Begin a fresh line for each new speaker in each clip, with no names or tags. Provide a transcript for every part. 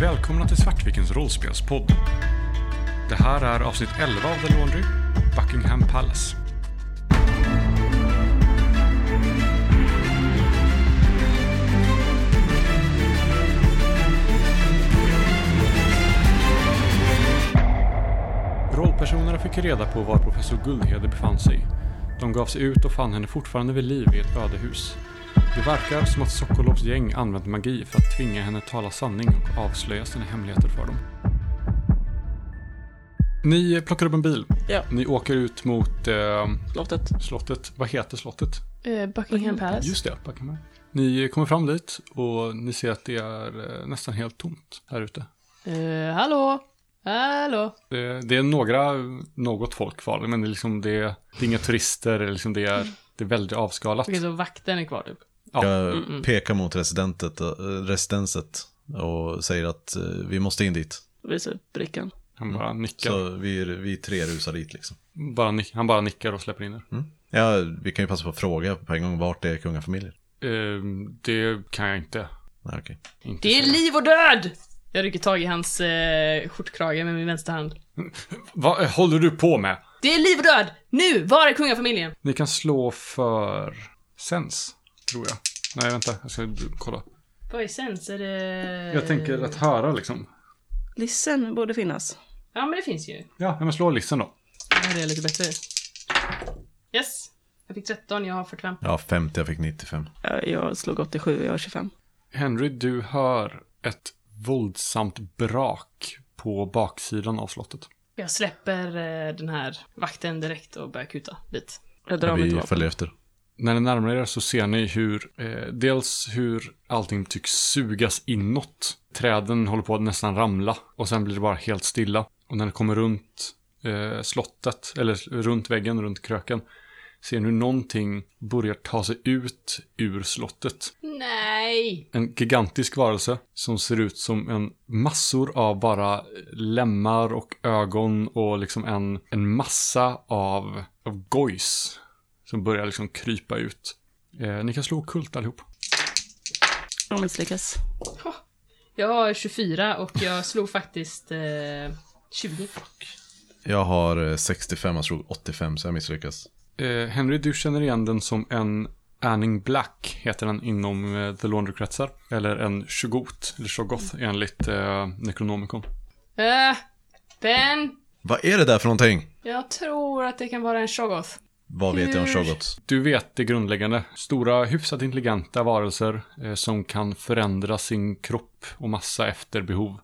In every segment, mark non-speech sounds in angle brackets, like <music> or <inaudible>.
Välkomna till Svartvikens rollspelspodd. Det här är avsnitt 11 av The Laundry, Buckingham Palace. Rollpersonerna fick reda på var professor Guldhede befann sig. De gav sig ut och fann henne fortfarande vid liv i ett ödehus. Det verkar som att Sokolovs gäng använt magi för att tvinga henne tala sanning och avslöja sina hemligheter för dem. Ni plockar upp en bil.
Ja.
Ni åker ut mot eh,
Slottet.
slottet. Vad heter slottet?
Eh,
Mm.
Buckingham Palace.
Just det, Buckingham. Ni kommer fram dit och ni ser att det är eh, nästan helt tomt här ute.
Eh, hallå? Hallå?
Det, det är några, något folk kvar, men det är, liksom, det, är- det är inga turister, det är liksom, det, är, det är väldigt avskalat.
Okej, så vakten är kvar typ.
Jag pekar mot residentet, eh, residenset och säger att eh, vi måste in dit.
Visar brickan.
Han bara nickar.
Så vi, vi tre rusar dit liksom.
Bara, nick- han bara nickar och släpper in er.
Ja, vi kan ju passa på att fråga på en gång, vart är kungafamiljen?
Ehm, det kan jag inte.
Nej, okej.
inte
Det är
säga.
liv och död! Jag rycker tag i hans eh, skjortkrage med min vänsterhand.
Vad eh, håller du på med?
Det är liv och död! Nu! Var är kungafamiljen?
Ni kan slå för sens, tror jag. Nej, vänta, jag ska d- kolla.
Vad är sens? Är det...
Jag tänker
Eh.
att höra liksom.
Lissen borde finnas.
Ja, men det finns ju.
Ja, men slå listen då.
Ja, det är lite bättre. Yes! Jag fick 13, jag har 45.
Ja, 50, jag fick 95.
Ja, Jag slog 87 jag har 25.
Henry, du hör ett våldsamt brak på baksidan av slottet.
Jag släpper eh, den här vakten direkt och börjar kuta dit.
Jag drar
Ja,
mitt
vi
vapen.
följer efter.
När ni närmar er så ser ni hur, eh, dels hur allting tycks sugas inåt. Träden håller på att nästan ramla och sen blir det bara helt stilla. Och när ni kommer runt eh, slottet, eller runt väggen, runt kröken, ser ni hur någonting börjar ta sig ut ur slottet.
Nej!
En gigantisk varelse som ser ut som en massor av bara lemmar och ögon och liksom en, en massa av, av gojs som börjar liksom krypa ut. Eh, ni kan slå kult allihop.
Jag misslyckas.
Jag har 24 och jag slog faktiskt eh, 20.
Jag har eh, 65, jag slog 85, så jag misslyckas.
Eh, Henry, du känner igen den som en Anning Black heter den inom eh, The Laundry-kretsar. Eller en Shogot, eller Shogoth enligt eh, Necronomicon.
Eh, ben,
Vad är det där för någonting?
jag tror att det kan vara en Shoggoth.
Vad vet jag om
Hur-
Shoggoths?
Du vet det grundläggande. Stora, hyfsat intelligenta varelser eh, som kan förändra sin kropp och massa efter behov. Eh,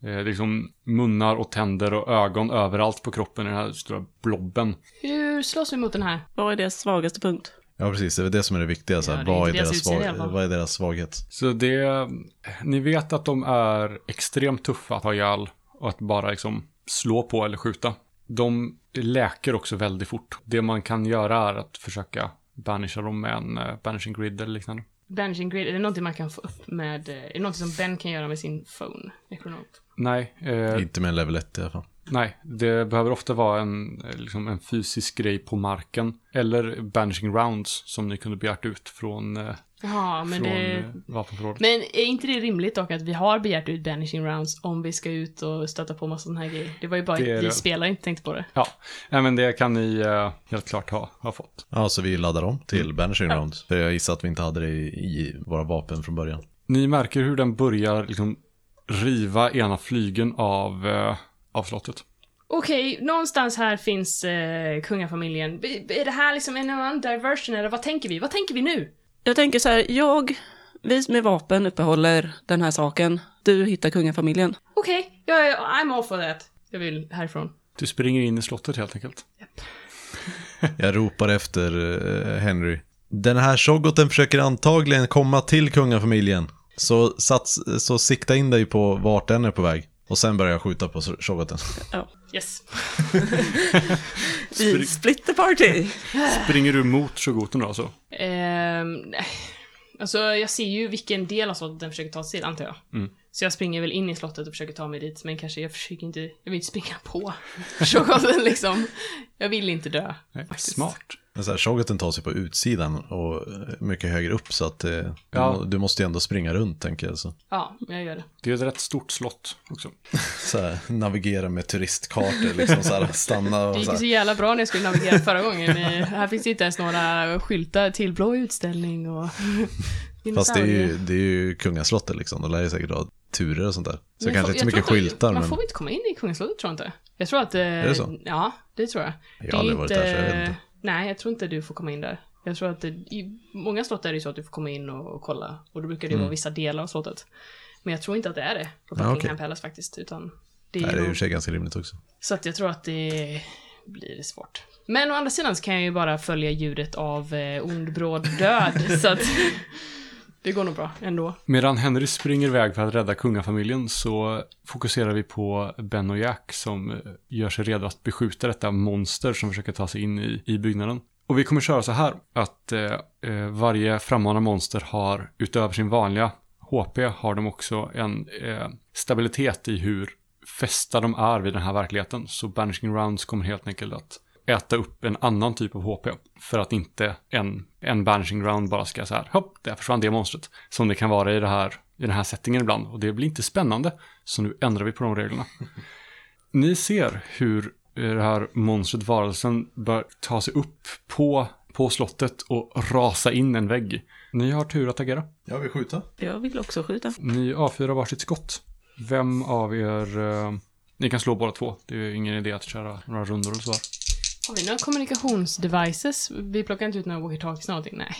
det är liksom munnar och tänder och ögon överallt på kroppen i den här stora blobben.
Hur slåss vi mot den här?
Vad är deras svagaste punkt?
Ja, precis, det är väl det som är det viktiga. Så här,
Ja, det är
vad, är
inte
deras
deras utseende i alla
svag...
fall.
vad är deras svaghet?
Så det... eh, Ni vet att de är extremt tuffa att ha ihjäl och att bara liksom slå på eller skjuta. De läker också väldigt fort. Det man kan göra är att försöka banisha dem med en eh, banishing grid eller liknande.
Banishing grid, är det någonting man kan få upp med, eh, är det någonting som Ben kan göra med sin phone? Ekonom.
Nej, eh,
Inte med en level 1 i alla fall.
Nej, det behöver ofta vara en, eh, liksom en fysisk grej på marken. Eller banishing rounds som ni kunde begärt ut från, eh,
Jaha, men
från
det...
eh, vapenförrådet.
Men är inte det rimligt dock att vi har begärt ut banishing rounds om vi ska ut och stöta på massa sådana här grejer? Det var ju bara att
Det är
vi
det.
spelare inte tänkte på det.
Ja, nej, men det kan ni eh, helt klart ha, ha fått.
Ja, så vi laddar om till
Mm.
Banishing Round. För jag gissar att vi inte hade det i, i våra vapen från början.
Ni märker hur den börjar liksom, riva ena flygen av, eh, av slottet.
Okej, någonstans här finns eh, kungafamiljen. B- b- är det här liksom en annan diversion eller vad tänker vi? Vad tänker vi nu?
Jag tänker så här, jag, vi med vapen uppehåller den här saken. Du hittar kungafamiljen.
Okej, jag är- I'm all for that. Jag vill härifrån.
Du springer in i slottet helt enkelt.
Jag ropar efter eh, Henry. Den här Shoggoten försöker antagligen komma till kungafamiljen. Så, sats, så sikta in dig på vart den är på väg. Och sen börjar jag skjuta på Shoggoten.
Yes.
Vi split the party!
Springer du mot Shogoten då alltså?
<sighs>
Mm.
Ehm, nej. alltså jag ser ju vilken del av slottet den försöker ta sig till antar jag. Så jag springer väl in i slottet och försöker ta mig dit, men kanske jag försöker inte, jag vill inte springa
<laughs>
på Shogothen liksom. Jag vill inte dö.
Nej,
faktiskt.
Smart.
Men så här, Shogoten tar sig på utsidan och eh, mycket högre upp så att eh, du,
Ja.
må- du måste ju ändå springa runt tänker jag. Så,
Ja, jag gör det.
Det är ett rätt stort slott också.
så här, navigera med turistkartor liksom,
<laughs>
så här, stanna
Det
och
gick
så
ju så
här.
jävla bra när jag skulle navigera förra gången. Eh, Här finns det inte ens några skyltar till blå utställning och <laughs>
Fast det är
dinosaurier.
ju, det är ju kungaslottet liksom, de lär ju säkert ha turer och sånt där. Så
Men
kanske
får-
inte så
jag
mycket
tror
skyltar
Man
men
får inte komma in i Kungsslottet tror jag inte. Jag tror att... Eh, är
det så?
Ja, det tror jag.
jag
Det är
har aldrig varit där så jag vet inte.
Nej, jag tror inte du får komma in där. Jag tror att det, i många slott är det ju så att du får komma in och, och kolla. Och då brukar det
Mm.
vara vissa delar av slottet. Men jag tror inte att det är det på
Ja,
Buckingham
okej.
Palace faktiskt. Utan det är,
Nej, det är
nog-
ju i och för sig ganska rimligt också.
Så att jag tror att det blir svårt. Men å andra sidan så kan jag ju bara följa ljudet av eh, ond bråd
<laughs>
död. så att det går nog bra ändå.
Medan Henry springer iväg för att rädda kungafamiljen så fokuserar vi på Ben och Jack som eh, gör sig redo att beskjuta detta monster som försöker ta sig in i, i byggnaden. Och vi kommer köra så här att eh, eh, varje frammanande monster har utöver sin vanliga HP har de också en eh, stabilitet i hur fästa de är vid den här verkligheten. Så Banishing Rounds kommer helt enkelt att äta upp en annan typ av HP. För att inte en, en banishing round bara ska så här, hopp, där försvann det monstret. Som det kan vara i, det här, i den här settingen ibland. Och det blir inte spännande, så nu ändrar vi på de reglerna. Ni ser hur eh, det här monstret, varelsen, bör ta sig upp på, på slottet och rasa in en vägg. Ni har tur att agera.
Jag vill skjuta.
Jag vill också skjuta.
Ni avfyrar varsitt skott. Vem av er... Eh, ni kan slå båda två. Det är ju ingen idé att köra några rundor eller så. här.
Har vi några kommunikationsdevices? Vi plockar inte ut några walkie-talkies eller någonting? Nej.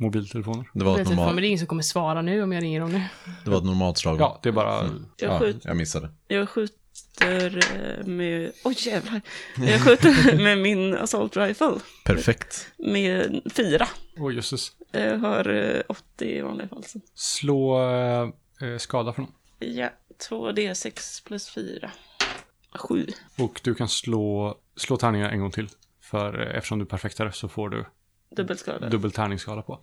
Mobiltelefoner.
Det var, ett
Mobiltelefon, men
normal,
det är typ ingen som kommer svara nu om jag ringer dem nu.
det var ett normalt slag.
Ja, det är bara...
Jag
Ja,
skjuter.
jag missade.
Jag skjuter eh, med... Oj jävlar. Jag
<laughs>
skjuter med min assault rifle.
Perfekt.
Med fyra.
Åh, jösses.
Jag har eh, 80 i vanliga fall. så.
Slå eh, eh, skada för någon.
Ja, 2D6 plus 4. 7.
Och du kan slå, slå tärningar en gång till. För eh, eftersom du perfektar så får du
Dubbelskada.
dubbel tärningsskada på.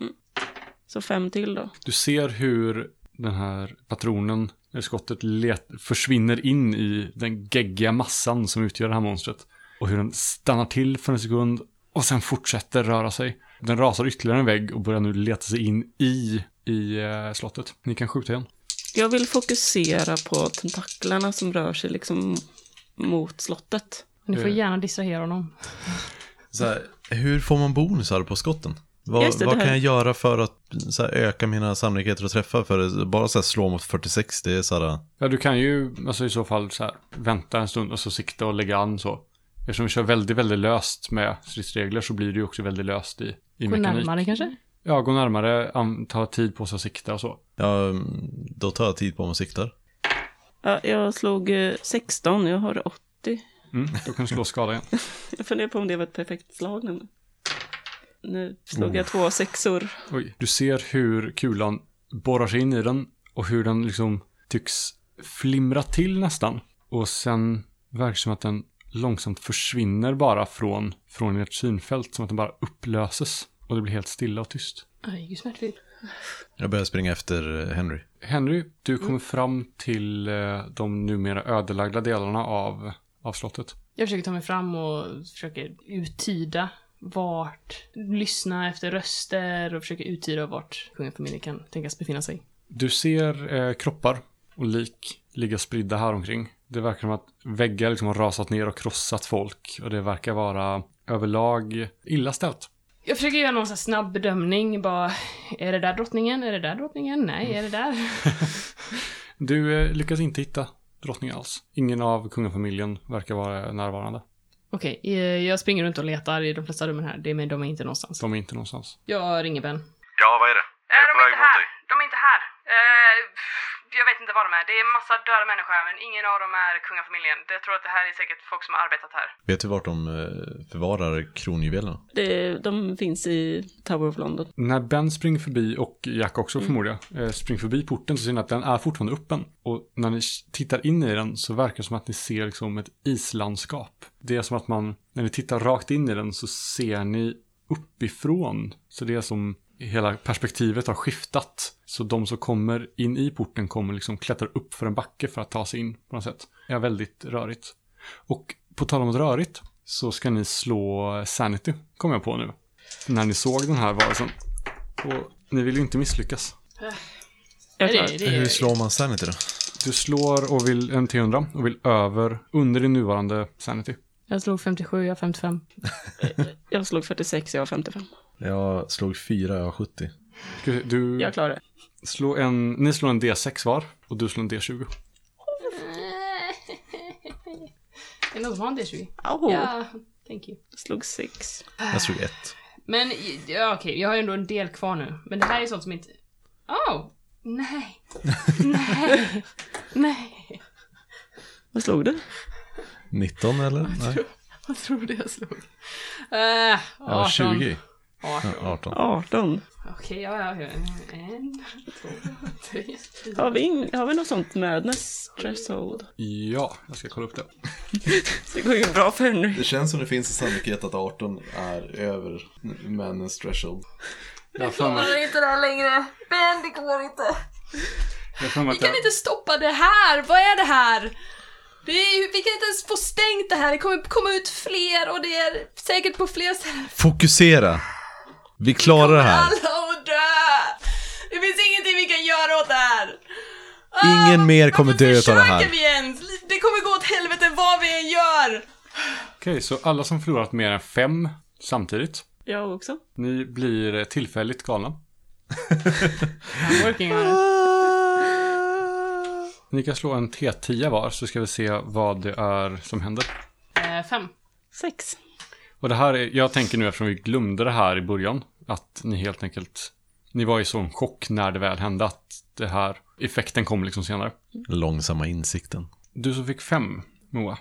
så fem till då.
Du ser hur den här patronen, eller skottet, let, försvinner in i den geggiga massan som utgör det här monstret. Och hur den stannar till för en sekund och sen fortsätter röra sig. Den rasar ytterligare en vägg och börjar nu leta sig in i, i eh, slottet. Ni kan skjuta igen.
Jag vill fokusera på tentaklarna som rör sig liksom mot slottet.
Ni får
Eh.
gärna distrahera honom.
Så här, hur får man bonusar på skotten?
Just
Vad,
det, det
vad
här-
kan jag göra för att så här, öka mina sannolikheter att träffa? För bara så här, slå mot 46, det är så här,
Ja, du kan ju alltså, i så fall så här, vänta en stund och så sikta och lägga an så. Eftersom vi kör väldigt, väldigt löst med stridsregler så blir det ju också väldigt löst i, i
Gå
mekanik.
närmare kanske?
Ja, gå närmare, an- ta tid på sig att sikta och så.
ja, mm, då tar jag tid på mig och siktar.
Ja, jag slog eh, 16, jag har 80.
Mm, då kan du slå skada igen.
Jag funderar på om det var ett perfekt slag nämligen. Nu slog jag två sexor.
<laughs> Oj. Du ser hur kulan borrar sig in i den och hur den liksom tycks flimra till nästan. Och sen verkar det som att den långsamt försvinner bara från, från ert synfält. Som att den bara upplöses. Och det blir helt stilla och tyst.
Ja, det gick ju smärtfritt.
Jag börjar springa efter eh, Henry.
Henry, du kommer fram till eh, de numera ödelagda delarna av, av slottet.
Jag försöker ta mig fram och försöker uttyda vart, lyssna efter röster och försöka uttyda vart kungafamiljen kan tänkas befinna sig.
Du ser eh, kroppar och lik ligga spridda här omkring. Det verkar som att väggar liksom har rasat ner och krossat folk och det verkar vara överlag illa ställt.
Jag försöker göra någon sån här snabb bedömning, bara är det där drottningen? Är det där drottningen? Nej, är det där? <laughs>
Du eh, lyckas inte hitta drottningen alls. Ingen av kungafamiljen verkar vara närvarande.
Okej, eh, jag springer runt och letar i de flesta rummen här, det men de är inte någonstans.
De är inte någonstans.
Jag ringer Ben.
Ja, vad är det? Jag
de är inte här. De är inte här. Eh, pff, jag vet inte vad de är. Det är massa döda människor här, men ingen av dem är kungafamiljen. Jag tror att det här är säkert folk som har arbetat här.
Vet du vart de eh, förvarar kronjuvelerna?
Det, de finns i Tower of London.
När Ben springer förbi, och Jack också förmodar jag, eh, springer förbi porten så ser ni att den är fortfarande öppen. Och när ni tittar in i den så verkar det som att ni ser liksom ett islandskap. Det är som att man, när ni tittar rakt in i den så ser ni uppifrån. Så det är som hela perspektivet har skiftat. Så de som kommer in i porten kommer liksom klättra upp för en backe för att ta sig in på något sätt. Det är väldigt rörigt. Och på tal om rörigt så ska ni slå Sanity, kom jag på nu. När ni såg den här varelsen. Och ni vill ju inte misslyckas.
Jag
Nej,
klarar
det,
det.
det,
Hur slår man Sanity då?
Du slår och vill en T100 och vill över, under din nuvarande Sanity.
Jag slog 57, jag har <laughs> 55.
Jag slog 46, jag har 55.
Jag slog 4, jag har 70.
Ska vi se, Du
Jag klarar det.
slår en, ni slår en D6 var och du slår en D20.
Är det någon som har en D20?
Au,
Ja, thank you.
jag slog 6.
Jag slog 1.
Men ja, okej, jag har ju ändå en del kvar nu. Men det här är sånt som inte... Oh! Nej. Nej. Nej.
Vad slog du?
19 eller?
<laughs>
Nej,
Vad tror du jag slog? Uh,
jag har 20.
18.
Ja, 18.
18.
Okej, ja, ja, ja. En, två, tre, fyra.
Har vi, ing- har vi något sånt madness threshold?
Ja, jag ska kolla upp det.
Det går ju bra för Henry.
Det känns som det finns en sannolikhet att 18 är över männens threshold.
Jag har för mig-
inte det här längre. Men det går inte.
jag har för mig
Vi
att jag,
kan inte stoppa det här. Vad är det här? Det är, ju- vi kan inte ens få stängt det här. Det kommer komma ut fler och det är säkert på fler ställen.
Fokusera! Vi klarar det här.
Alla att dö! Det finns ingenting vi kan göra åt det här. Ah,
Ingen mer kommer dö
Varför
utav det här.
försöker vi ens? Det kommer gå åt helvete vad vi än gör.
Okej, så alla som förlorat mer än fem samtidigt,
Jag också.
ni blir eh, tillfälligt galna. Ni kan slå en T10 var så ska vi se vad det är som händer.
fem.
6.
Och det här är, jag tänker nu eftersom vi glömde det här i början, att ni helt enkelt, ni var i sån chock när det väl hände att det här, effekten kom liksom senare.
Långsamma insikten.
Du som fick fem, Moa.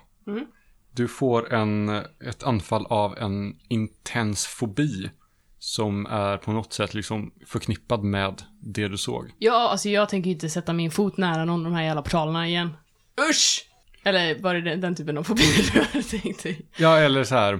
Du får en, ett anfall av en intens fobi som är på något sätt liksom förknippad med det du såg.
Ja, alltså jag tänker inte sätta min fot nära någon av de här jävla portalerna igen. Usch! Eller var det den, den typen av fobi du hade tänkt dig?
Ja, eller så här,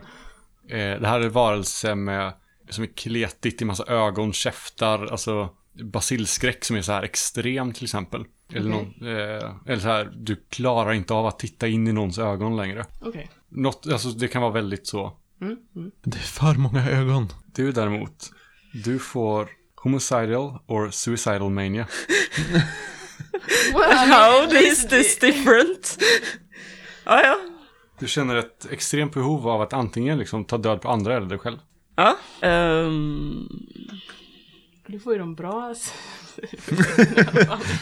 eh, det här är varelse med, som är kletigt i massa ögon, käftar, alltså basilskräck som är så här extrem till exempel. Eller, någon, eh, eller så här, du klarar inte av att titta in i någons ögon längre.
Okej.
Något, alltså det kan vara väldigt så
Det är för många ögon.
Du däremot, du får homicidal or suicidal mania.
<laughs> How is this different? ja, ja.
Du känner ett extremt behov av att antingen liksom ta död på andra eller dig själv.
Ja. ehm,
Du får ju de bra alltså.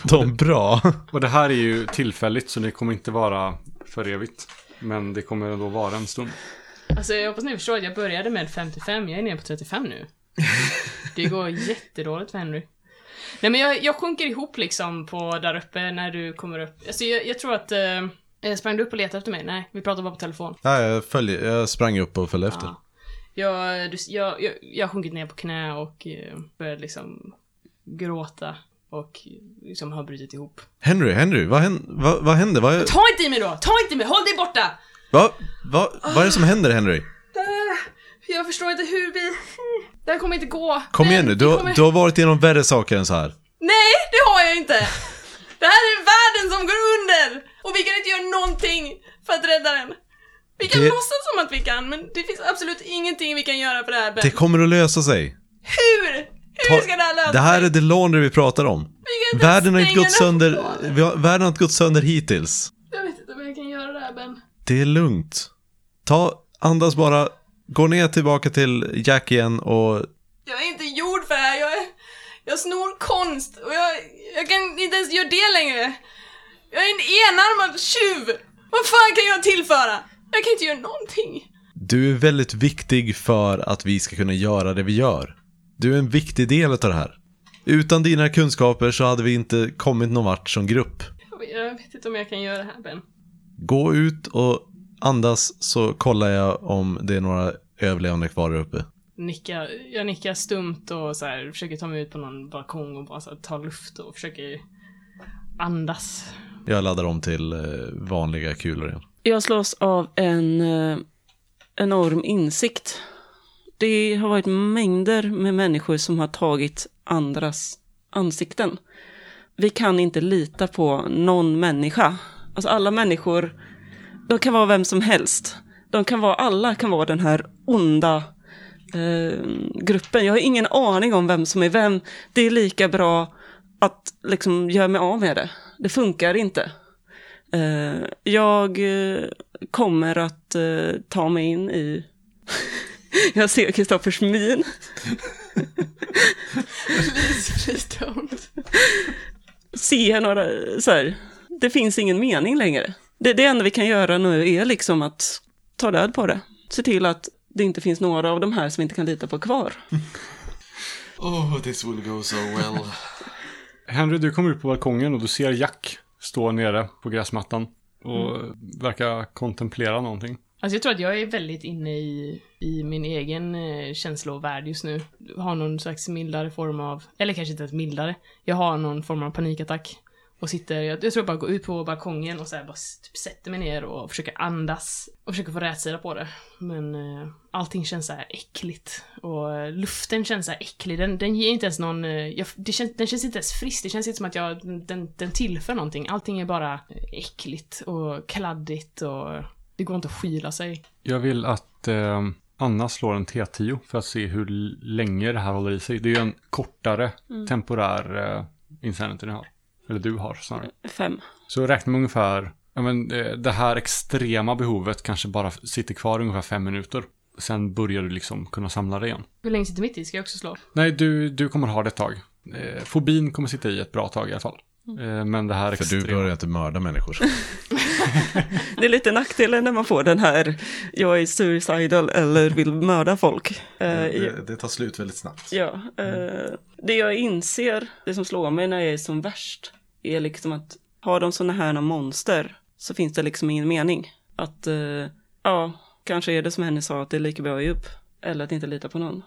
De bra.
Och det här är ju tillfälligt så det kommer inte vara för evigt. Men det kommer ändå vara en stund.
alltså jag hoppas ni förstår att jag började med 55, jag är nere på 35 nu. Det går jättedåligt för Henry. Nej men jag, jag sjunker ihop liksom på där uppe när du kommer upp. Alltså jag, jag tror att... Eh, eh, sprang du upp och letade efter mig? Nej, vi pratade bara på telefon.
Nej, jag, följer, jag sprang upp och följde efter.
Ja. Jag, du, jag, jag, jag har sjunkit ner på knä och eh, börjat liksom gråta och liksom har brutit ihop.
Henry, Henry, vad, hän, vad, vad händer? Vad,
Ta inte i mig då! Ta inte i mig! Håll dig borta!
vad, vad, vad är det som händer Henry?
Äh, Jag förstår inte hur vi... Det här kommer inte gå.
Kom
Det-
igen nu,
det
du, har-
kommer-
du har varit igenom värre saker än så här.
Nej, det har jag inte! Det här är världen som går under! Och vi kan inte göra någonting för att rädda den. Vi kan
Det-
låtsas som att vi kan, men det finns absolut ingenting vi kan göra för det här, Ben.
Det kommer att lösa sig.
Hur? Hur
Ta-
ska det här lösa
Det här
sig?
är det Laundry vi pratar om.
Vi kan inte
Världen har inte
stänga
gått
den
sönder,
från-
vi har, världen har inte gått sönder hittills.
Jag vet inte vad jag kan göra där Ben.
Det är lugnt. Ta, andas bara, gå ner tillbaka till Jack igen och
Jag är inte gjord för det här. Jag, är, jag snor konst och jag, jag kan inte ens göra det längre. Jag är en enarmad tjuv. Vad fan kan jag tillföra? Jag kan inte göra någonting.
du är väldigt viktig för att vi ska kunna göra det vi gör. Du är en viktig del av det här. Utan dina kunskaper så hade vi inte kommit någon vart som grupp.
Jag vet inte om jag kan göra det här Ben.
Gå ut och andas så kollar jag om det är några överlevande kvar där uppe.
Nicka, jag nickar stumt och så här, försöker ta mig ut på någon balkong och bara så här, ta luft och försöker andas.
Jag laddar om till eh, vanliga kulor igen.
jag slås av en eh, enorm insikt det har varit mängder med människor som har tagit andras ansikten. Vi kan inte lita på någon människa. Alltså alla människor, de kan vara vem som helst. De kan vara, alla kan vara den här onda eh, gruppen. Jag har ingen aning om vem som är vem. Det är lika bra att liksom göra mig av med det. Det funkar inte. Eh, jag eh, kommer att eh, ta mig in i... <laughs> jag ser Kristoffers min.
Please, please don't.
Se några, så här, det finns ingen mening längre. Det, det enda vi kan göra nu är liksom att ta död på det. Se till att det inte finns några av de här som vi inte kan lita på kvar.
Oh, this will go so well.
Henry, du kommer ut på balkongen och du ser Jack stå nere på gräsmattan och verkar kontemplera någonting.
Alltså jag tror att jag är väldigt inne i, i min egen eh, känslovärld just nu. Har någon slags mildare form av, eller kanske inte ens mildare, jag har någon form av panikattack. Och sitter, jag, jag tror jag bara går ut på balkongen och så här bara s- typ sätter mig ner och försöker andas. Och försöker få rätsida på det. Men eh, allting känns så här äckligt. Och eh, luften känns så här äcklig, den, den ger inte ens någon, eh, jag, det känns, den känns inte ens frisk, det känns inte som att jag, den, den tillför någonting. Allting är bara eh, äckligt och kladdigt och eh, det går inte att skyla sig.
Jag vill att eh, Anna slår en T10 för att se hur l- länge det här håller i sig. Det är ju en kortare temporär eh, insanity ni har. Eller du har snarare.
Fem.
Så räkna med ungefär, ja men eh, det här extrema behovet kanske bara f- sitter kvar i ungefär fem minuter. Sen börjar du liksom kunna samla dig igen.
Hur länge sitter mitt i? Ska jag också slå?
Nej, du, du kommer ha det ett tag. Eh, fobin kommer sitta i ett bra tag i alla fall. Eh, men det här
För du
extrema...
börjar inte mörda människor.
Det är lite nackdelen när man får den här, jag är suicidal eller vill mörda folk. Eh,
Det, det tar slut väldigt snabbt.
<laughs> Ja, eh, det jag inser, det som slår mig när jag är som värst, är liksom att har de sådana här monster så finns det liksom ingen mening. Att, eh, ja, kanske är det som henne sa, att det är lika bra att ge upp. Eller att inte lita på någon.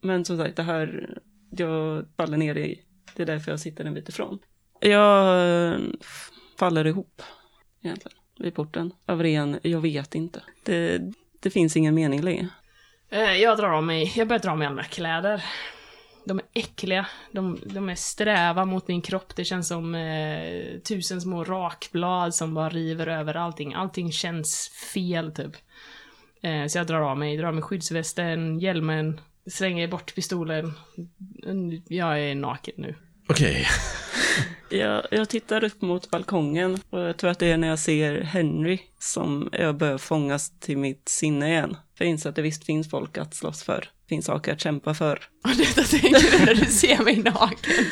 Men som sagt, det här, jag faller ner i, det är därför jag sitter en bit ifrån. Jag eh, faller ihop, egentligen, vid porten. Över en, jag vet inte. Det, det finns ingen mening längre.
Eh, jag drar av mig, jag börjar dra av mig alla mina kläder. De är äckliga, de, de är sträva mot min kropp, det känns som eh, tusen små rakblad som bara river över allting. Allting känns fel typ. Eh, så jag drar av mig, drar av mig skyddsvästen, hjälmen, slänger bort pistolen. Mm, Jag är naken nu. <laughs>
Okej.
Jag, jag tittar upp mot balkongen och jag tror att det är när jag ser Henry som jag börjar fångas till mitt sinne igen. För jag inser att det visst finns folk att slåss för. Finns saker att kämpa för.
Och detta tänker du när du ser mig naken.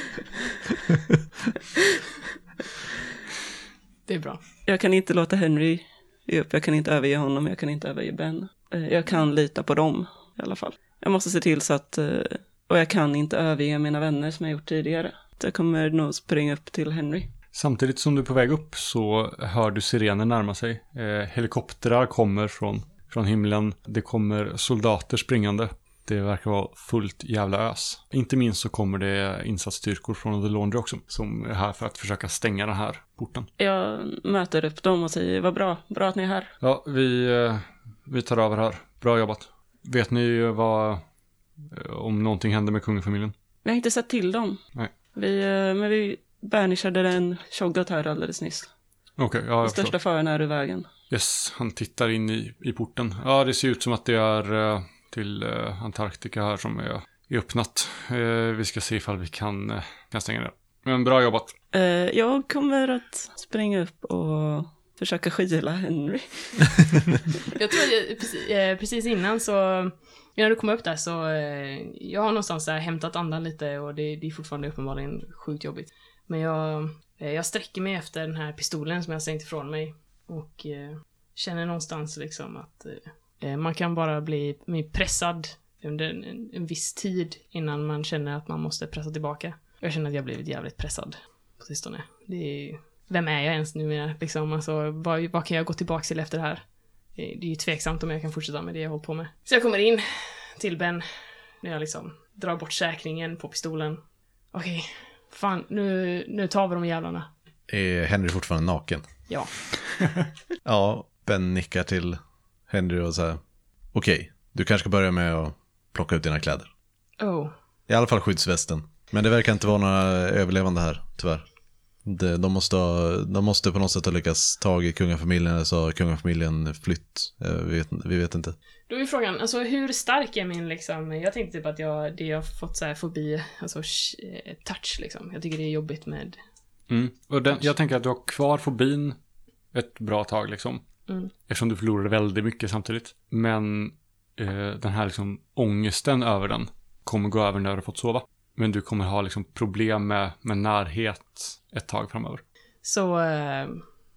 Det är bra.
Jag kan inte låta Henry ge upp, jag kan inte överge honom, jag kan inte överge Ben. Eh, Jag kan lita på dem i alla fall. Jag måste se till så att, eh, och jag kan inte överge mina vänner som jag gjort tidigare. Så Jag kommer nog springa upp till Henry.
Samtidigt som du är på väg upp så hör du sirener närma sig. Eh, helikoptrar kommer från, från himlen. Det kommer soldater springande. Det verkar vara fullt jävla ös. Inte minst så kommer det insatsstyrkor från The Laundry också. Som är här för att försöka stänga den här porten.
Jag möter upp dem och säger vad bra, bra att ni är här.
Ja, vi, eh, vi tar över här. Bra jobbat. Vet ni vad... eh, Om någonting händer med kungafamiljen?
Vi har inte sett till dem.
Nej.
Vi, eh, men vi bernishade en Shoggoth här alldeles nyss.
Okej, ja, jag förstår.
Största faran är ur vägen.
Yes, han tittar in i, i porten. Ja, det ser ut som att det är eh, till eh, Antarktika här som är, är öppnat. Eh, vi ska se ifall vi kan, eh, kan stänga det. Men bra jobbat.
Eh, jag kommer att springa upp och försöka skyla Henry.
Jag tror att jag, precis, eh, precis innan så, när du kom upp där så, eh, jag har någonstans så här hämtat andan lite och det, det är fortfarande uppenbarligen sjukt jobbigt. Men jag, eh, jag sträcker mig efter den här pistolen som jag har slängt ifrån mig och eh, känner någonstans liksom att eh, man kan bara bli bli pressad under en, en, en viss tid innan man känner att man måste pressa tillbaka. Jag känner att jag blivit jävligt pressad på sistone. Det är, vem är jag ens numera liksom? Alltså, vad, vad kan jag gå tillbaka till efter det här? Det det är ju tveksamt om jag kan fortsätta med det jag håller på med. Så jag kommer in till Ben när jag liksom drar bort säkringen på pistolen. Okej, fan nu, nu tar vi de jävlarna.
Är Henry fortfarande naken? <laughs>
Ja.
Ja, Ben nickar till Henry och så här. Okej, du kanske ska börja med att plocka ut dina kläder.
Oh.
I alla fall skyddsvästen. Men det verkar inte vara några överlevande här, tyvärr. De, de, måste, ha, de måste på något sätt ha lyckats tag i kungafamiljen eller så har kungafamiljen flytt. Eh, Vi vet, vi vet inte.
Då är frågan, alltså hur stark är min liksom, jag tänkte typ att jag, det jag fått så här fobi, alltså sh- eh, touch liksom. Jag tycker det är jobbigt med,
Mm. Och den, jag tänker att du har kvar fobin ett bra tag liksom.
Mm.
Eftersom du förlorade väldigt mycket samtidigt. Men eh, den här liksom ångesten över den kommer gå över när du har fått sova. Men du kommer ha liksom problem med, med närhet ett tag framöver.
så eh,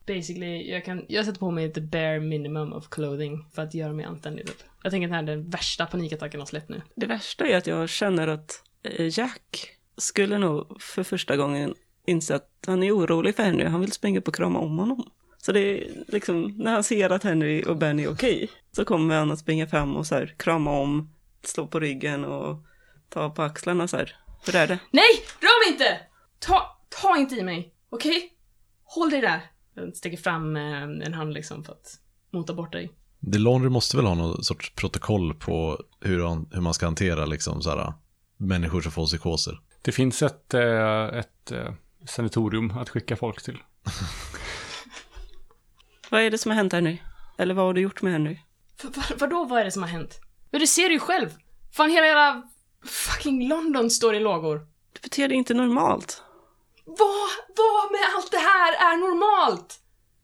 basically, jag kan, jag sätter på mig the bare minimum of clothing för att göra mig anständig typ. Jag tänker att den här är den värsta panikattacken har släppt nu.
Det värsta är att jag känner att eh, Jack skulle nog för första gången inse att han är orolig för Henry. Han vill springa upp och krama om honom. Så det är liksom, när han ser att Henry och Benny är okej, så kommer han att springa fram och så här krama om, slå på ryggen och ta på axlarna så här. Hur är det?
Nej! Rör mig inte! Ta, ta inte i mig! Okej? Håll dig där! Jag sticker fram eh, en hand liksom för att mota bort dig.
DeLonry måste väl ha någon sorts protokoll på hur, han, hur man ska hantera liksom, så här, människor som får psykoser.
Det finns ett, eh, ett eh, sanatorium att skicka folk till.
Vad är det som har hänt Henry? Eller vad har du gjort med Henry?
För, vad, vadå, vad är det som har hänt? Ja, du ser det ju själv! Fan, hela jävla fucking London står i lågor.
Du beter dig inte normalt.
Vad, vad med allt det här är normalt?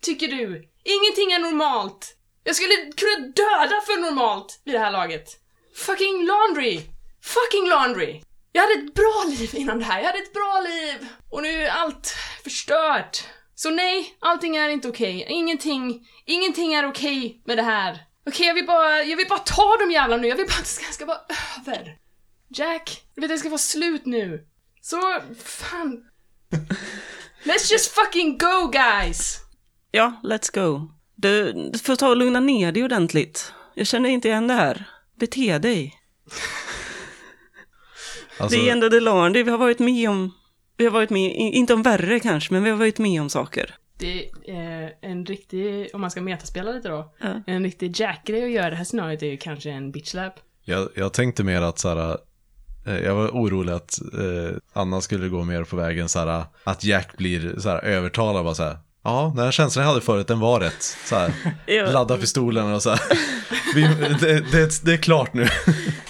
Tycker du? Ingenting är normalt! Jag skulle kunna döda för normalt vid det här laget. Fucking laundry! Fucking laundry! Jag hade ett bra liv innan det här, jag hade ett bra liv! Och nu är allt förstört. Så nej, allting är inte okej. Ingenting, ingenting är okej med det här. Okej, jag vill bara, jag vill bara ta de jävla nu, jag vill bara att det ska, ska vara över. Jack, du vet det ska vara slut nu. Så, fan, Let's just fucking go guys!
Ja, let's go. Du, du får ta och lugna ner dig ordentligt. Jag känner inte igen det här. Bete dig.
Alltså,
Det är ändå DeLorndy, vi har varit med om, vi har varit med, i- inte om värre kanske, men vi har varit med om saker.
Det är en riktig, om man ska metaspela lite då,
Ja.
en riktig Jack-grej att göra det här scenariot är ju kanske en bitchlap.
jag, jag tänkte mer att så här, eh, jag var orolig att eh, Anna skulle gå mer på vägen så här, att Jack blir så här, övertalad bara så här. Ja, den här känslan jag hade förut, den var rätt. Så här,
<laughs> Ja.
ladda pistolen och så här. <laughs> Vi, det, det, det är klart nu.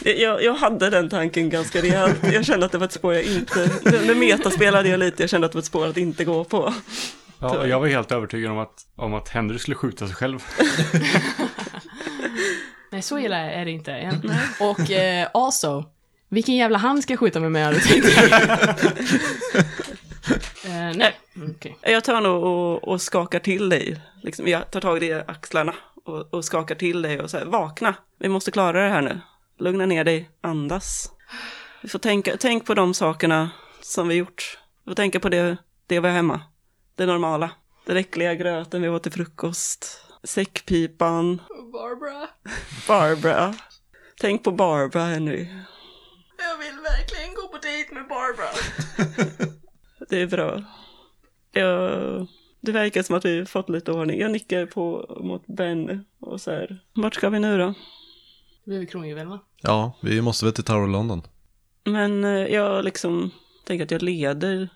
<laughs>
Jag, jag hade den tanken ganska rejält, jag kände att det var ett spår jag inte, nu nu metaspelade jag lite, jag kände att det var ett spår att inte gå på.
Ja, och jag var helt övertygad om att, om att Henry skulle skjuta sig själv.
Nej, så illa är det inte än. Och eh, also, vilken jävla hand ska jag skjuta mig med hade jag
<laughs>
tänkt. Eh, nej, Mm, okej.
Jag tar nog och, och skakar till dig, liksom, jag tar tag i dig i axlarna och, och skakar till dig och säger vakna, vi måste klara det här nu. Lugna ner dig, andas. Vi får tänka, tänk på de sakerna som vi gjort. Vi får tänka på det, det vi har hemma. Det normala. Den äckliga gröten vi åt till frukost. Säckpipan.
Barbara,
Barbara. Tänk på Barbara Henry.
jag vill verkligen gå på dejt med Barbara.
Det är bra. Jag, det verkar som att vi fått lite ordning. Jag nickar på mot Ben och så här. Vart ska vi nu då?
Vi är kronjuvelerna.
Ja, vi måste väl till Tower of London.
Men eh, jag liksom tänker att jag leder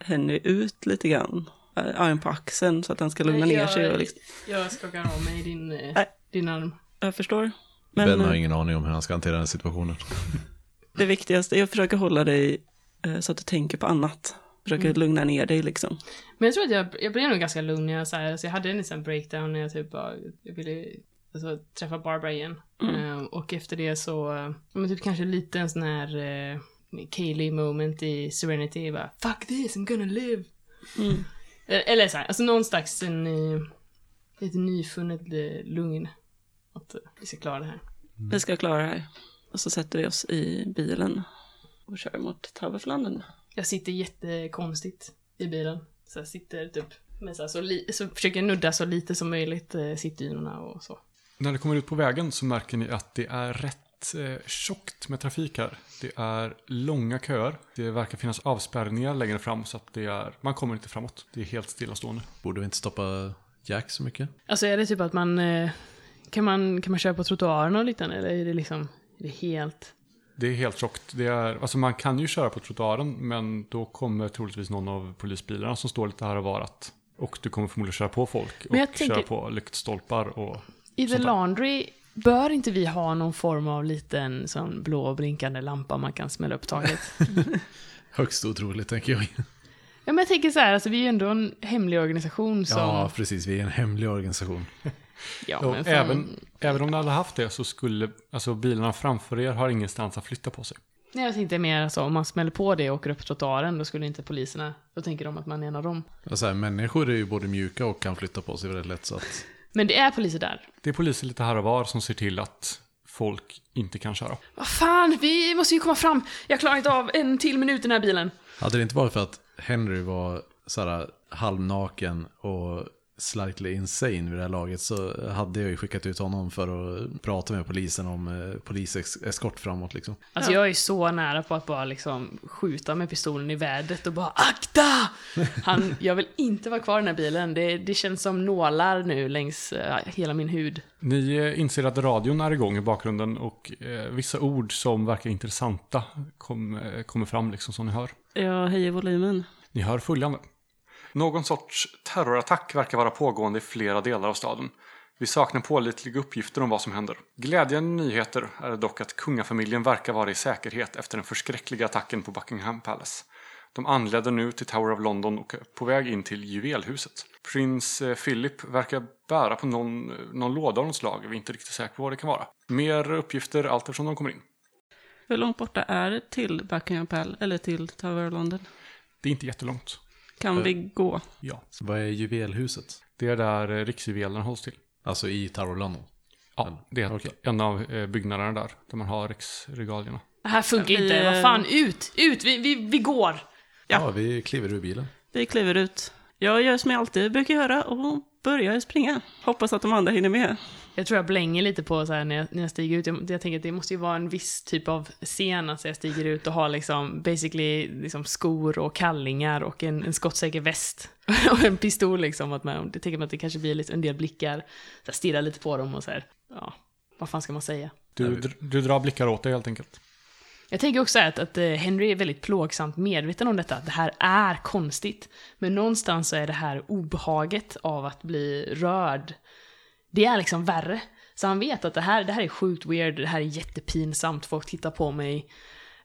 Henry ut lite grann. Eh, Arm på axeln så att han ska lugna ner sig. Och
Jag,
liksom,
jag skakar av mig din, eh,
Nej.
din arm.
jag förstår. Men,
ben har
eh,
ingen aning om hur han ska hantera den situationen.
Det viktigaste, jag försöker hålla dig eh, så att du tänker på annat. Försöker lugna ner dig liksom.
Men jag tror att jag, jag blev nog ganska lugn när jag så här, alltså jag hade en liten breakdown när jag typ bara, jag ville alltså, träffa Barbara igen. Eh, och efter det så, eh, ja, men typ kanske lite en sån här uh, Kaylee moment i Serenity, bara fuck this, I'm gonna live.
Mm.
Eh, Eller så här, alltså någon slags en, eh, lite nyfunnet eh, lugn. Att eh, vi ska klara det här.
Mm.
Vi ska klara det här. Och så sätter vi oss i bilen och kör mot Taverflanden.
Jag sitter jättekonstigt i bilen. Så jag sitter typ, men så, här, så, li- så försöker jag nudda så lite som möjligt eh, sittdynorna och så.
<laughs> När ni kommer ut på vägen så märker ni att det är rätt eh, tjockt med trafik här. Det är långa köer. Det verkar finnas avspärrningar längre fram så att det är, man kommer inte framåt. Det är helt stillastående.
Borde vi inte stoppa Jack så mycket?
Alltså är det typ att man eh, kan man, kan man köra på trottoaren och liknande eller är det liksom är det helt
Det är helt tjockt. Det är, alltså man kan ju köra på trottoaren, men då kommer troligtvis någon av polisbilarna som står lite här och varat. Och du kommer förmodligen köra på folk
Men jag
och
tänker-
köra på lyktstolpar och...
I The
Sånt där.
Laundry, bör inte vi ha någon form av liten sån blå blinkande lampa man kan smälla upp <laughs> taget?
Högst otroligt tänker jag.
ja, men jag tänker så här, alltså, vi är ju ändå en hemlig organisation som...
Ja,
Ja,
precis. Vi är en hemlig organisation.
och
men fan,
även, även om ni hade haft det så skulle... Alltså bilarna framför er har ingenstans att flytta på sig.
Nej, jag tänkte mer alltså, om man smäller på det och åker upp trottoaren, då skulle inte poliserna... Då tänker de att man är en av dem.
Och så här, människor är ju både mjuka och kan flytta på sig väldigt lätt. Så att,
Men det är poliser där.
Det är poliser lite här och var som ser till att folk inte kan köra.
Vad fan, vi måste ju komma fram! Jag klarar inte av en till minut i den här bilen.
hade det inte varit för att Henry var så här, halvnaken och slightly insane vid det här laget så hade jag ju skickat ut honom för att prata med polisen om eh, poliseskort framåt liksom.
Alltså jag är så nära på att bara liksom skjuta med pistolen i vädret och bara akta! Han, jag vill inte vara kvar i den här bilen, det, det känns som nålar nu längs eh, hela min hud.
Ni eh, inser att radion är igång i bakgrunden och eh, vissa ord som verkar intressanta kom, eh, kommer fram liksom som ni hör.
Jag höjer volymen.
Ni hör följande. Någon sorts terrorattack verkar vara pågående i flera delar av staden. Vi saknar pålitliga uppgifter om vad som händer. Glädjande nyheter är dock att kungafamiljen verkar vara i säkerhet efter den förskräckliga attacken på Buckingham Palace. De anländer nu till Tower of London och är på väg in till juvelhuset. Prins eh, Philip verkar bära på någon, eh, någon låda av något slag, vi är inte riktigt säkra på vad det kan vara. Mer uppgifter allt eftersom de kommer in.
Hur långt borta är det till Buckingham Palace, eller till Tower of London?
Det är inte jättelångt.
Kan vi gå?
Ja.
Vad är juvelhuset?
Det är där eh, riksjuvelen hålls till.
Alltså i Tarolano.
Ja, det är en av eh, byggnaderna där, där man har riksregalierna.
Det här funkar
Vi,
inte, vad
eh,
fan, ut! Ut! Vi, vi, vi går!
Ja. ja, vi kliver ur bilen.
Vi kliver ut. Jag gör som jag alltid brukar göra och börjar springa. Hoppas att de andra hinner med.
Jag tror jag blänger lite på så här när jag, när jag stiger ut, jag, jag tänker att det måste ju vara en viss typ av scen, alltså jag stiger ut och har liksom basically liksom skor och kallingar och en, en skottsäker väst. <laughs> och en pistol liksom, att man, jag tänker mig att det kanske blir lite, en del blickar, så här, stirrar lite på dem och så här, ja, vad fan ska man säga?
Du, dr- du drar blickar åt dig helt enkelt.
Jag tänker också att, att eh, Henry är väldigt plågsamt medveten om detta, att det här är konstigt. Men någonstans så är det här obehaget av att bli rörd, det är liksom värre. Så han vet att det här, det här är sjukt weird, det här är jättepinsamt, folk tittar på mig.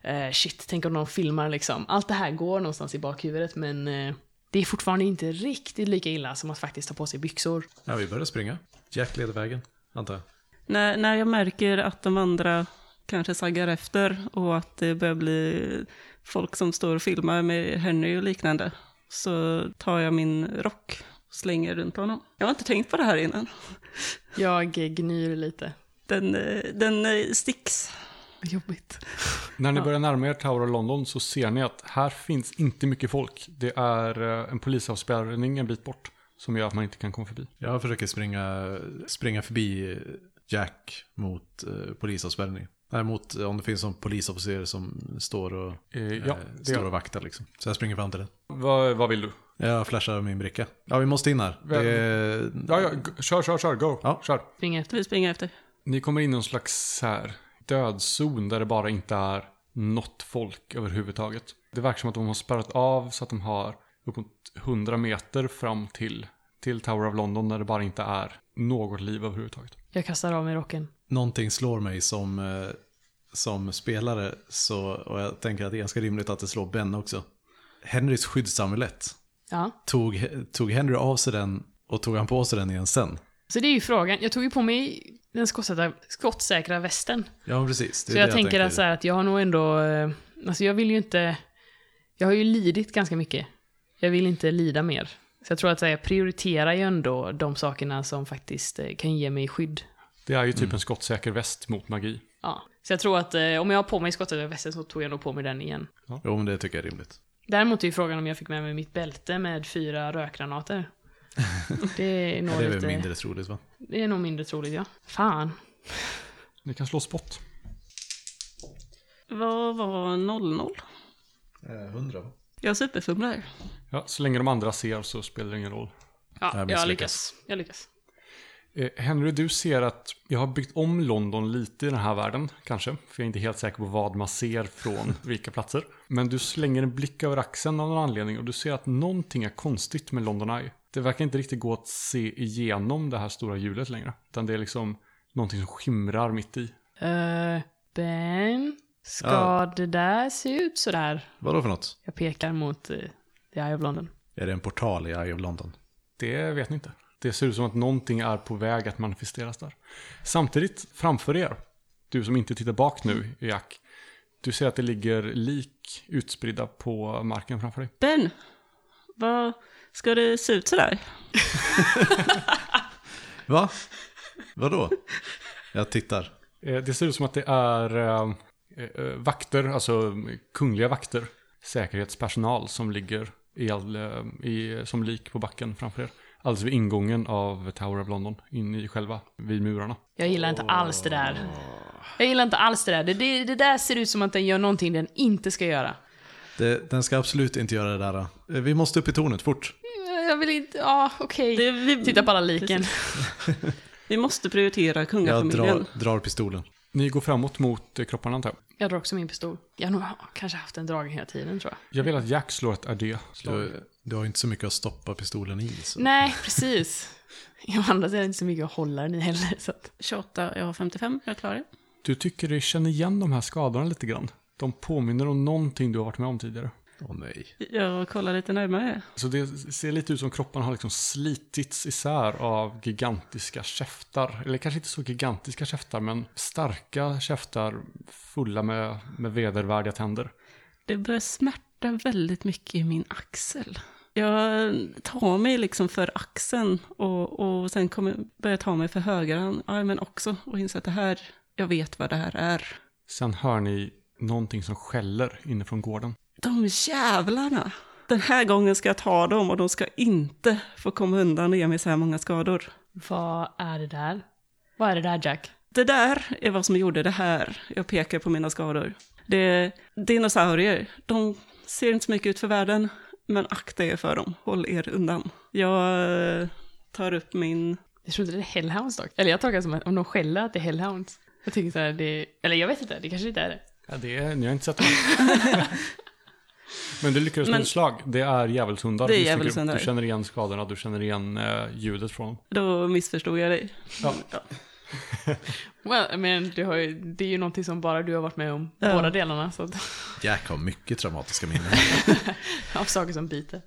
Eh, shit, tänk om någon filmar liksom. Allt det här går någonstans i bakhuvudet men eh, det är fortfarande inte riktigt lika illa som att faktiskt ta på sig byxor.
Ja, vi börjar springa. Jack leder vägen, antar jag.
När, när jag märker att de andra kanske saggar efter och att det börjar bli folk som står och filmar med Henry och liknande så tar jag min rock och slänger runt honom. Jag har inte tänkt på det här innan.
Jag eh, gnyr lite.
Den, eh, den eh, sticks.
Jobbigt.
När ni börjar närma er Tower of London så ser ni att här finns inte mycket folk. Det är eh, en polisavspärrning en bit bort som gör att man inte kan komma förbi.
Jag försöker springa, springa förbi Jack mot eh, polisavspärrning. Nej, mot eh, om det finns någon polisofficer som står och,
Eh, ja,
eh,
det-
står och vaktar. Liksom. Så jag springer fram till den.
Vad- vad vill du?
Jag flashar min bricka. Ja, vi måste in här. Det är,
Ja, ja, g- kör, kör, kör, go,
Ja.
kör.
Spring efter.
Vi springer efter.
Ni kommer in i någon slags så här, dödzon där det bara inte är något folk överhuvudtaget. Det verkar som att de har spärrat av så att de har uppåt 100 meter fram till, till Tower of London där det bara inte är något liv överhuvudtaget.
Jag kastar av mig rocken.
någonting slår mig som, eh, som spelare. Så, och jag tänker att det är ganska rimligt att det slår Ben också. Henrys skyddsamulett.
Ja.
Tog, tog Henry av sig den och tog han på sig den igen sen?
Så det är ju frågan. Jag tog ju på mig den skottsäkra, skottsäkra västen.
Ja, men precis. Det är
Så
det
jag tänker att, så här, att jag har nog ändå... eh, Alltså jag vill ju inte... Jag har ju lidit ganska mycket. Jag vill inte lida mer. Så jag tror att så här, jag prioriterar ju ändå de sakerna som faktiskt eh, kan ge mig skydd.
Det är ju typ en skottsäker väst mot magi.
Ja. Så jag tror att eh, om jag har på mig skottsäkra västen så tog jag nog på mig den igen.
Jo, men det tycker jag är rimligt.
Däremot är ju frågan om jag fick med mig mitt bälte med fyra rökgranater.
<laughs>
Det är nog,
Ja, det är väl
lite,
mindre troligt va?
det är nog mindre troligt, ja. Fan.
Ni kan slå spott.
Vad var 00?
100 va?
Jag superfumlar.
Ja, så länge de andra ser så spelar det ingen roll.
Ja, jag
misslyckas.
lyckas. Jag lyckas.
Eh, Henry, du ser att jag har byggt om London lite i den här världen, kanske. För jag är inte helt säker på vad man ser från vilka platser. Men du slänger en blick över axeln av någon anledning och du ser att någonting är konstigt med London Eye. Det verkar inte riktigt gå att se igenom det här stora hjulet längre. Utan det är liksom någonting som skimrar mitt i.
Eh, ben, ska
Ja.
det där se ut sådär?
Vadå för något?
Jag pekar mot uh, The Eye of London.
Är det en portal i Eye of London?
Det vet ni inte. Det ser ut som att någonting är på väg att manifesteras där. Samtidigt, framför er, du som inte tittar bak nu, Jack, du ser att det ligger lik utspridda på marken framför dig.
Ben, vad ska det se ut sådär?
Va? Vadå? Jag tittar.
Eh, Det ser ut som att det är eh, eh, vakter, alltså kungliga vakter, säkerhetspersonal som ligger i all, eh, i, som lik på backen framför er. Alldeles vid ingången av Tower of London, in i själva, vid murarna.
Jag gillar inte alls det där. Jag gillar inte alls det där. Det, det, det där ser ut som att den gör någonting den inte ska göra.
Det, den ska absolut inte göra det där. eh. Vi måste upp i tornet, fort.
Eh, Jag vill inte, ja okej.
Det, vi,
Titta på alla liken.
vi måste prioritera
Jag
kungafamiljen.
drar, drar pistolen.
Ni går framåt mot eh, kropparna antar jag.
Jag drar också min pistol. Jag har nog kanske haft den dragen hela tiden tror jag.
Jag vill att Jack slår ett RD. Slå.
Du, du har ju inte så mycket att stoppa pistolen i. Så.
<laughs> Nej, precis. Jag andra sidan inte så mycket att hålla den i heller. Så att...
28, jag har 55, jag klarar det.
Du tycker du känner igen de här skadorna lite grann. De påminner om någonting du har varit med om tidigare.
Åh nej.
Jag kollar lite närmare.
Så det ser lite ut som kroppen har liksom slitits isär av gigantiska käftar. Eller kanske inte så gigantiska käftar, men starka käftar fulla med, med vedervärdiga tänder.
Det börjar smärta väldigt mycket i min axel. Jag tar mig liksom för axeln och, och sen kommer, börjar jag ta mig för högerarmen också och inser att det här, jag vet vad det här är.
Sen hör ni någonting som skäller inifrån gården.
De jävlarna! Den här gången ska jag ta dem och de ska inte få komma undan och ge mig så här många skador.
Vad är det där? Vad är det där Jack?
Det där är vad som gjorde det här. Jag pekar på mina skador. Det är dinosaurier. De ser inte så mycket ut för världen, men akta er för dem. Håll er undan. Jag eh, tar upp min...
Jag trodde det var Hellhounds dock. Eller jag tolkar det som att om de skäller att det är Hellhounds. Jag tycker såhär, det Eller jag vet inte, det kanske inte är det.
Ja, det är, ni har inte sett dem. <laughs> Men du lyckades med
Men-
ett slag. Det är djävulshundar.
Det är
Du sticker ut.
djävulshundar.
Du känner igen skadorna, du känner igen eh, ljudet från dem.
Då missförstod jag dig.
Well, men du har ju, det är ju någonting som bara du har varit med om,
Ja.
båda delarna. Så att, <laughs>
Jack har mycket traumatiska minnen.
<laughs>
av saker som biter.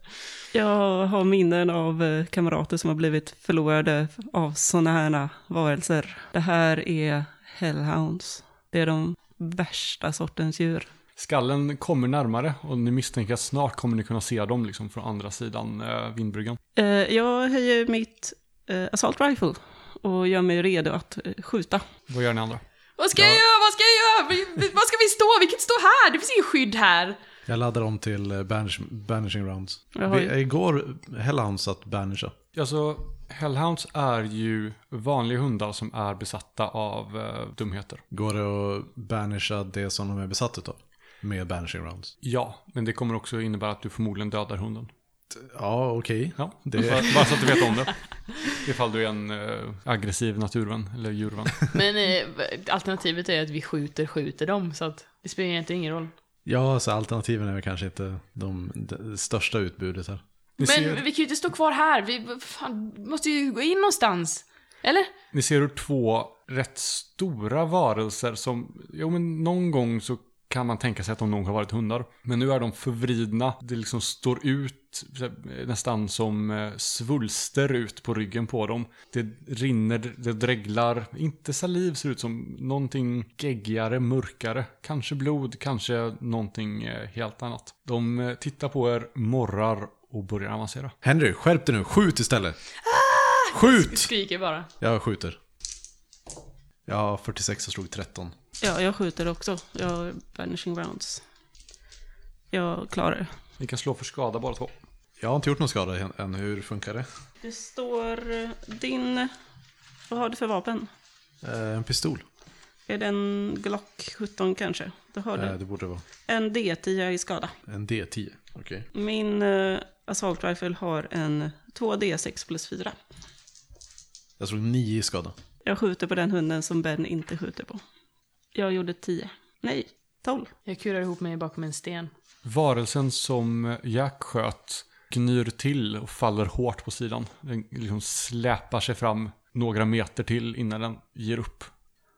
Jag har minnen av eh, kamrater som har blivit förlorade av sådana här varelser. Det här är hellhounds. Det är de värsta sortens djur.
Skallen kommer närmare och ni misstänker att snart kommer ni kunna se dem liksom från andra sidan eh, vindbryggan.
Eh, Jag höjer mitt eh, assault rifle och gör mig redo att eh, skjuta.
Vad gör ni andra?
Vad ska jag göra? Vad ska jag göra? Vi, vi, vad ska vi stå? Vi kan inte stå här! Det finns ingen skydd här!
Jag laddar om till eh, banish, banishing rounds.
Jag har ju-
Vi, igår hällde han så att banisha.
Alltså, hellhounds är ju vanliga hundar som är besatta av eh, dumheter.
Går det att banisha det som de är besatta av? Med banishing rounds.
Ja, men det kommer också innebära att du förmodligen dödar hunden.
Ja, okej.
Ja,
Det-
bara, bara så att du vet om det. Ifall du är en eh, aggressiv naturvän eller djurvän.
Men eh, alternativet är att vi skjuter, skjuter dem. Så att det spelar egentligen ingen roll.
Ja, så alternativen är väl kanske inte de, det största utbudet här.
Ni
Men
ser,
vi kan ju inte stå kvar här. Vi fan, måste ju gå in någonstans. Eller?
ni ser hur två rätt stora varelser som, jo men någon gång så kan man tänka sig att de nog har varit hundar. Men nu är de förvridna, det liksom står ut så här, nästan som eh, svulster ut på ryggen på dem. Det rinner, det dreglar, inte saliv ser ut som, någonting geggigare, mörkare. Kanske blod, kanske någonting eh, helt annat. De eh, tittar på er, morrar och börjar avancera.
Henry, skärp dig nu. Skjut istället.
Ah!
Skjut!
Skriker bara.
Jag skjuter. Jag har 46 och slog 13.
Ja, jag skjuter också. Jag har vanishing rounds. Jag klarar det.
Ni kan slå för skada bara två.
Jag har inte gjort någon skada än- än. Hur funkar det?
Det står eh, din... Vad har du för vapen?
Eh, en pistol.
Är det en Glock 17 kanske? Det har
Eh,
du.
det borde vara.
En D10 i skada.
En D10. Okej.
Min eh, assault rifle har en 2D6 plus 4.
Jag slog nio i skada.
Jag skjuter på den hunden som Ben inte skjuter på. Jag gjorde 10. Nej, 12.
Jag kurar ihop mig bakom en sten.
Varelsen som Jack sköt gnyr till och faller hårt på sidan. Den liksom släpar sig fram några meter till innan den ger upp.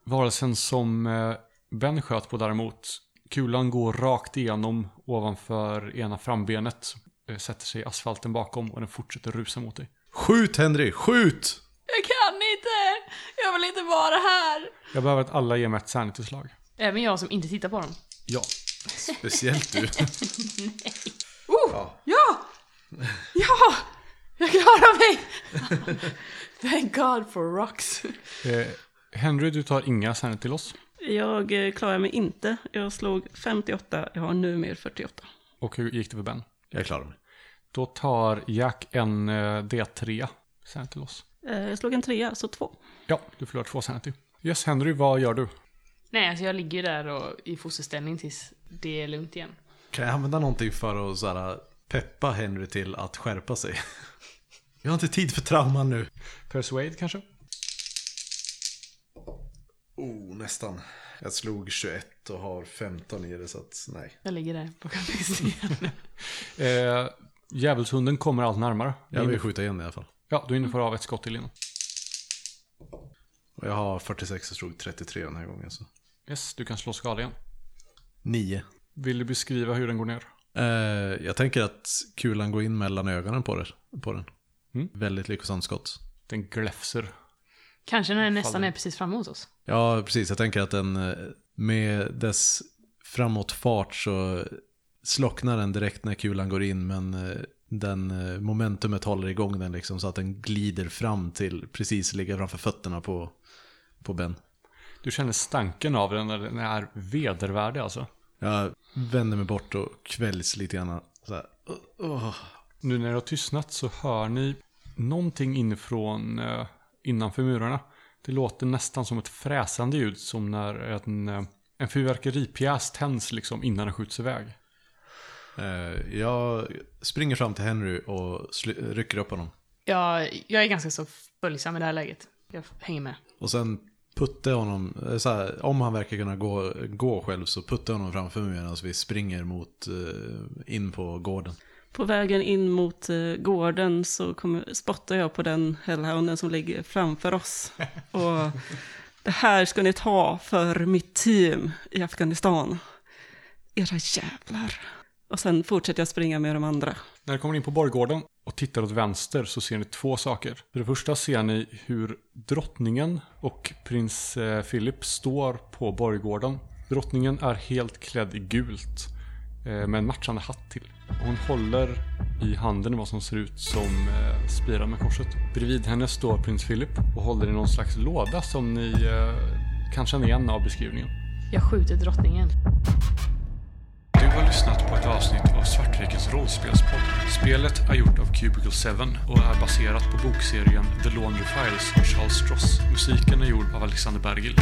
Varelsen som eh, Ben sköt på däremot, kulan går rakt igenom ovanför ena frambenet, eh, sätter sig i asfalten bakom och den fortsätter rusa mot dig.
Skjut Henry, skjut!
Jag kan inte! Jag vill inte vara här!
Jag behöver att alla ger mig ett sanity-slag.
Även jag som inte tittar på dem.
Ja.
Speciellt du.
Ja! Ja! Jag klarar mig! <laughs> Thank God for rocks.
Eh, Henry, du tar inga sanity till oss.
Jag eh, klarar mig inte. Jag slog 58. Jag har numera 48.
Och hur gick det för Ben?
Jag klarar mig.
Då tar Jack en eh, D3 sanity till oss.
Eh, Jag slog en trea, så två.
Ja, du förlorar två sanity. Yes, Henry, vad gör du?
Nej, alltså jag ligger där och i fosterställning tills det är lugnt igen.
Kan jag använda någonting för att så här, peppa Henry till att skärpa sig? <laughs> Jag har inte tid för trauman nu.
Persuade kanske?
Oh, nästan. Jag slog 21 och har 15 i det så att nej.
Jag ligger där bakom en sten.
Eh, djävulshunden kommer allt närmare. Du är
Jag
inne-
vill skjuta igen i alla fall.
Ja, du är inne för av ett skott till innan.
Och jag har 46 och slog 33 den här gången så.
Yes, du kan slå skada igen.
9.
Vill du beskriva hur den går ner?
Eh, jag tänker att kulan går in mellan ögonen på, det, på den.
Mm.
Väldigt lyckosamt skott.
Den gläfser.
Kanske när den nästan
Faller.
är precis framåt oss.
Ja, precis. Jag tänker att den eh, med dess framåtfart så slocknar den direkt när kulan går in. Men eh, den eh, momentumet håller igång den liksom så att den glider fram till precis ligga framför fötterna på, på Ben.
Du känner stanken av den när den är vedervärdig alltså.
Jag vänder mig bort och kvälls lite grann. Så här. Åh.
Nu när det har tystnat så hör ni någonting inifrån eh, innanför murarna. Det låter nästan som ett fräsande ljud som när en, eh, en fyrverkeripjäs tänds liksom innan den skjuts iväg.
Eh, Jag springer fram till Henry och sly- rycker upp honom.
Jag, jag är ganska så följsam i det här läget. Jag hänger med.
Och sen puttar jag honom, eh, så här, om han verkar kunna gå, gå själv så puttar jag honom framför mig medan vi springer mot, eh, in på gården.
På vägen in mot eh, gården så kommer, spottar jag på den hellhounden som ligger framför oss. Och det här ska ni ta för mitt team i Afghanistan. Era jävlar. Och sen fortsätter jag springa med de andra.
När ni kommer in på borggården och tittar åt vänster så ser ni två saker. För det första ser ni hur drottningen och prins eh, Philip står på borggården. Drottningen är helt klädd i gult eh, med en matchande hatt till. Hon håller i handen vad som ser ut som eh, spirar med korset. Bredvid henne står prins Philip och håller i någon slags låda som ni eh, kan känna igen av beskrivningen.
Jag skjuter drottningen.
Du har lyssnat på ett avsnitt av Svartvikens rollspelspodd. Spelet är gjort av Cubicle 7 och är baserat på bokserien The Laundry Files av Charles Stross. Musiken är gjord av Alexander Bergil.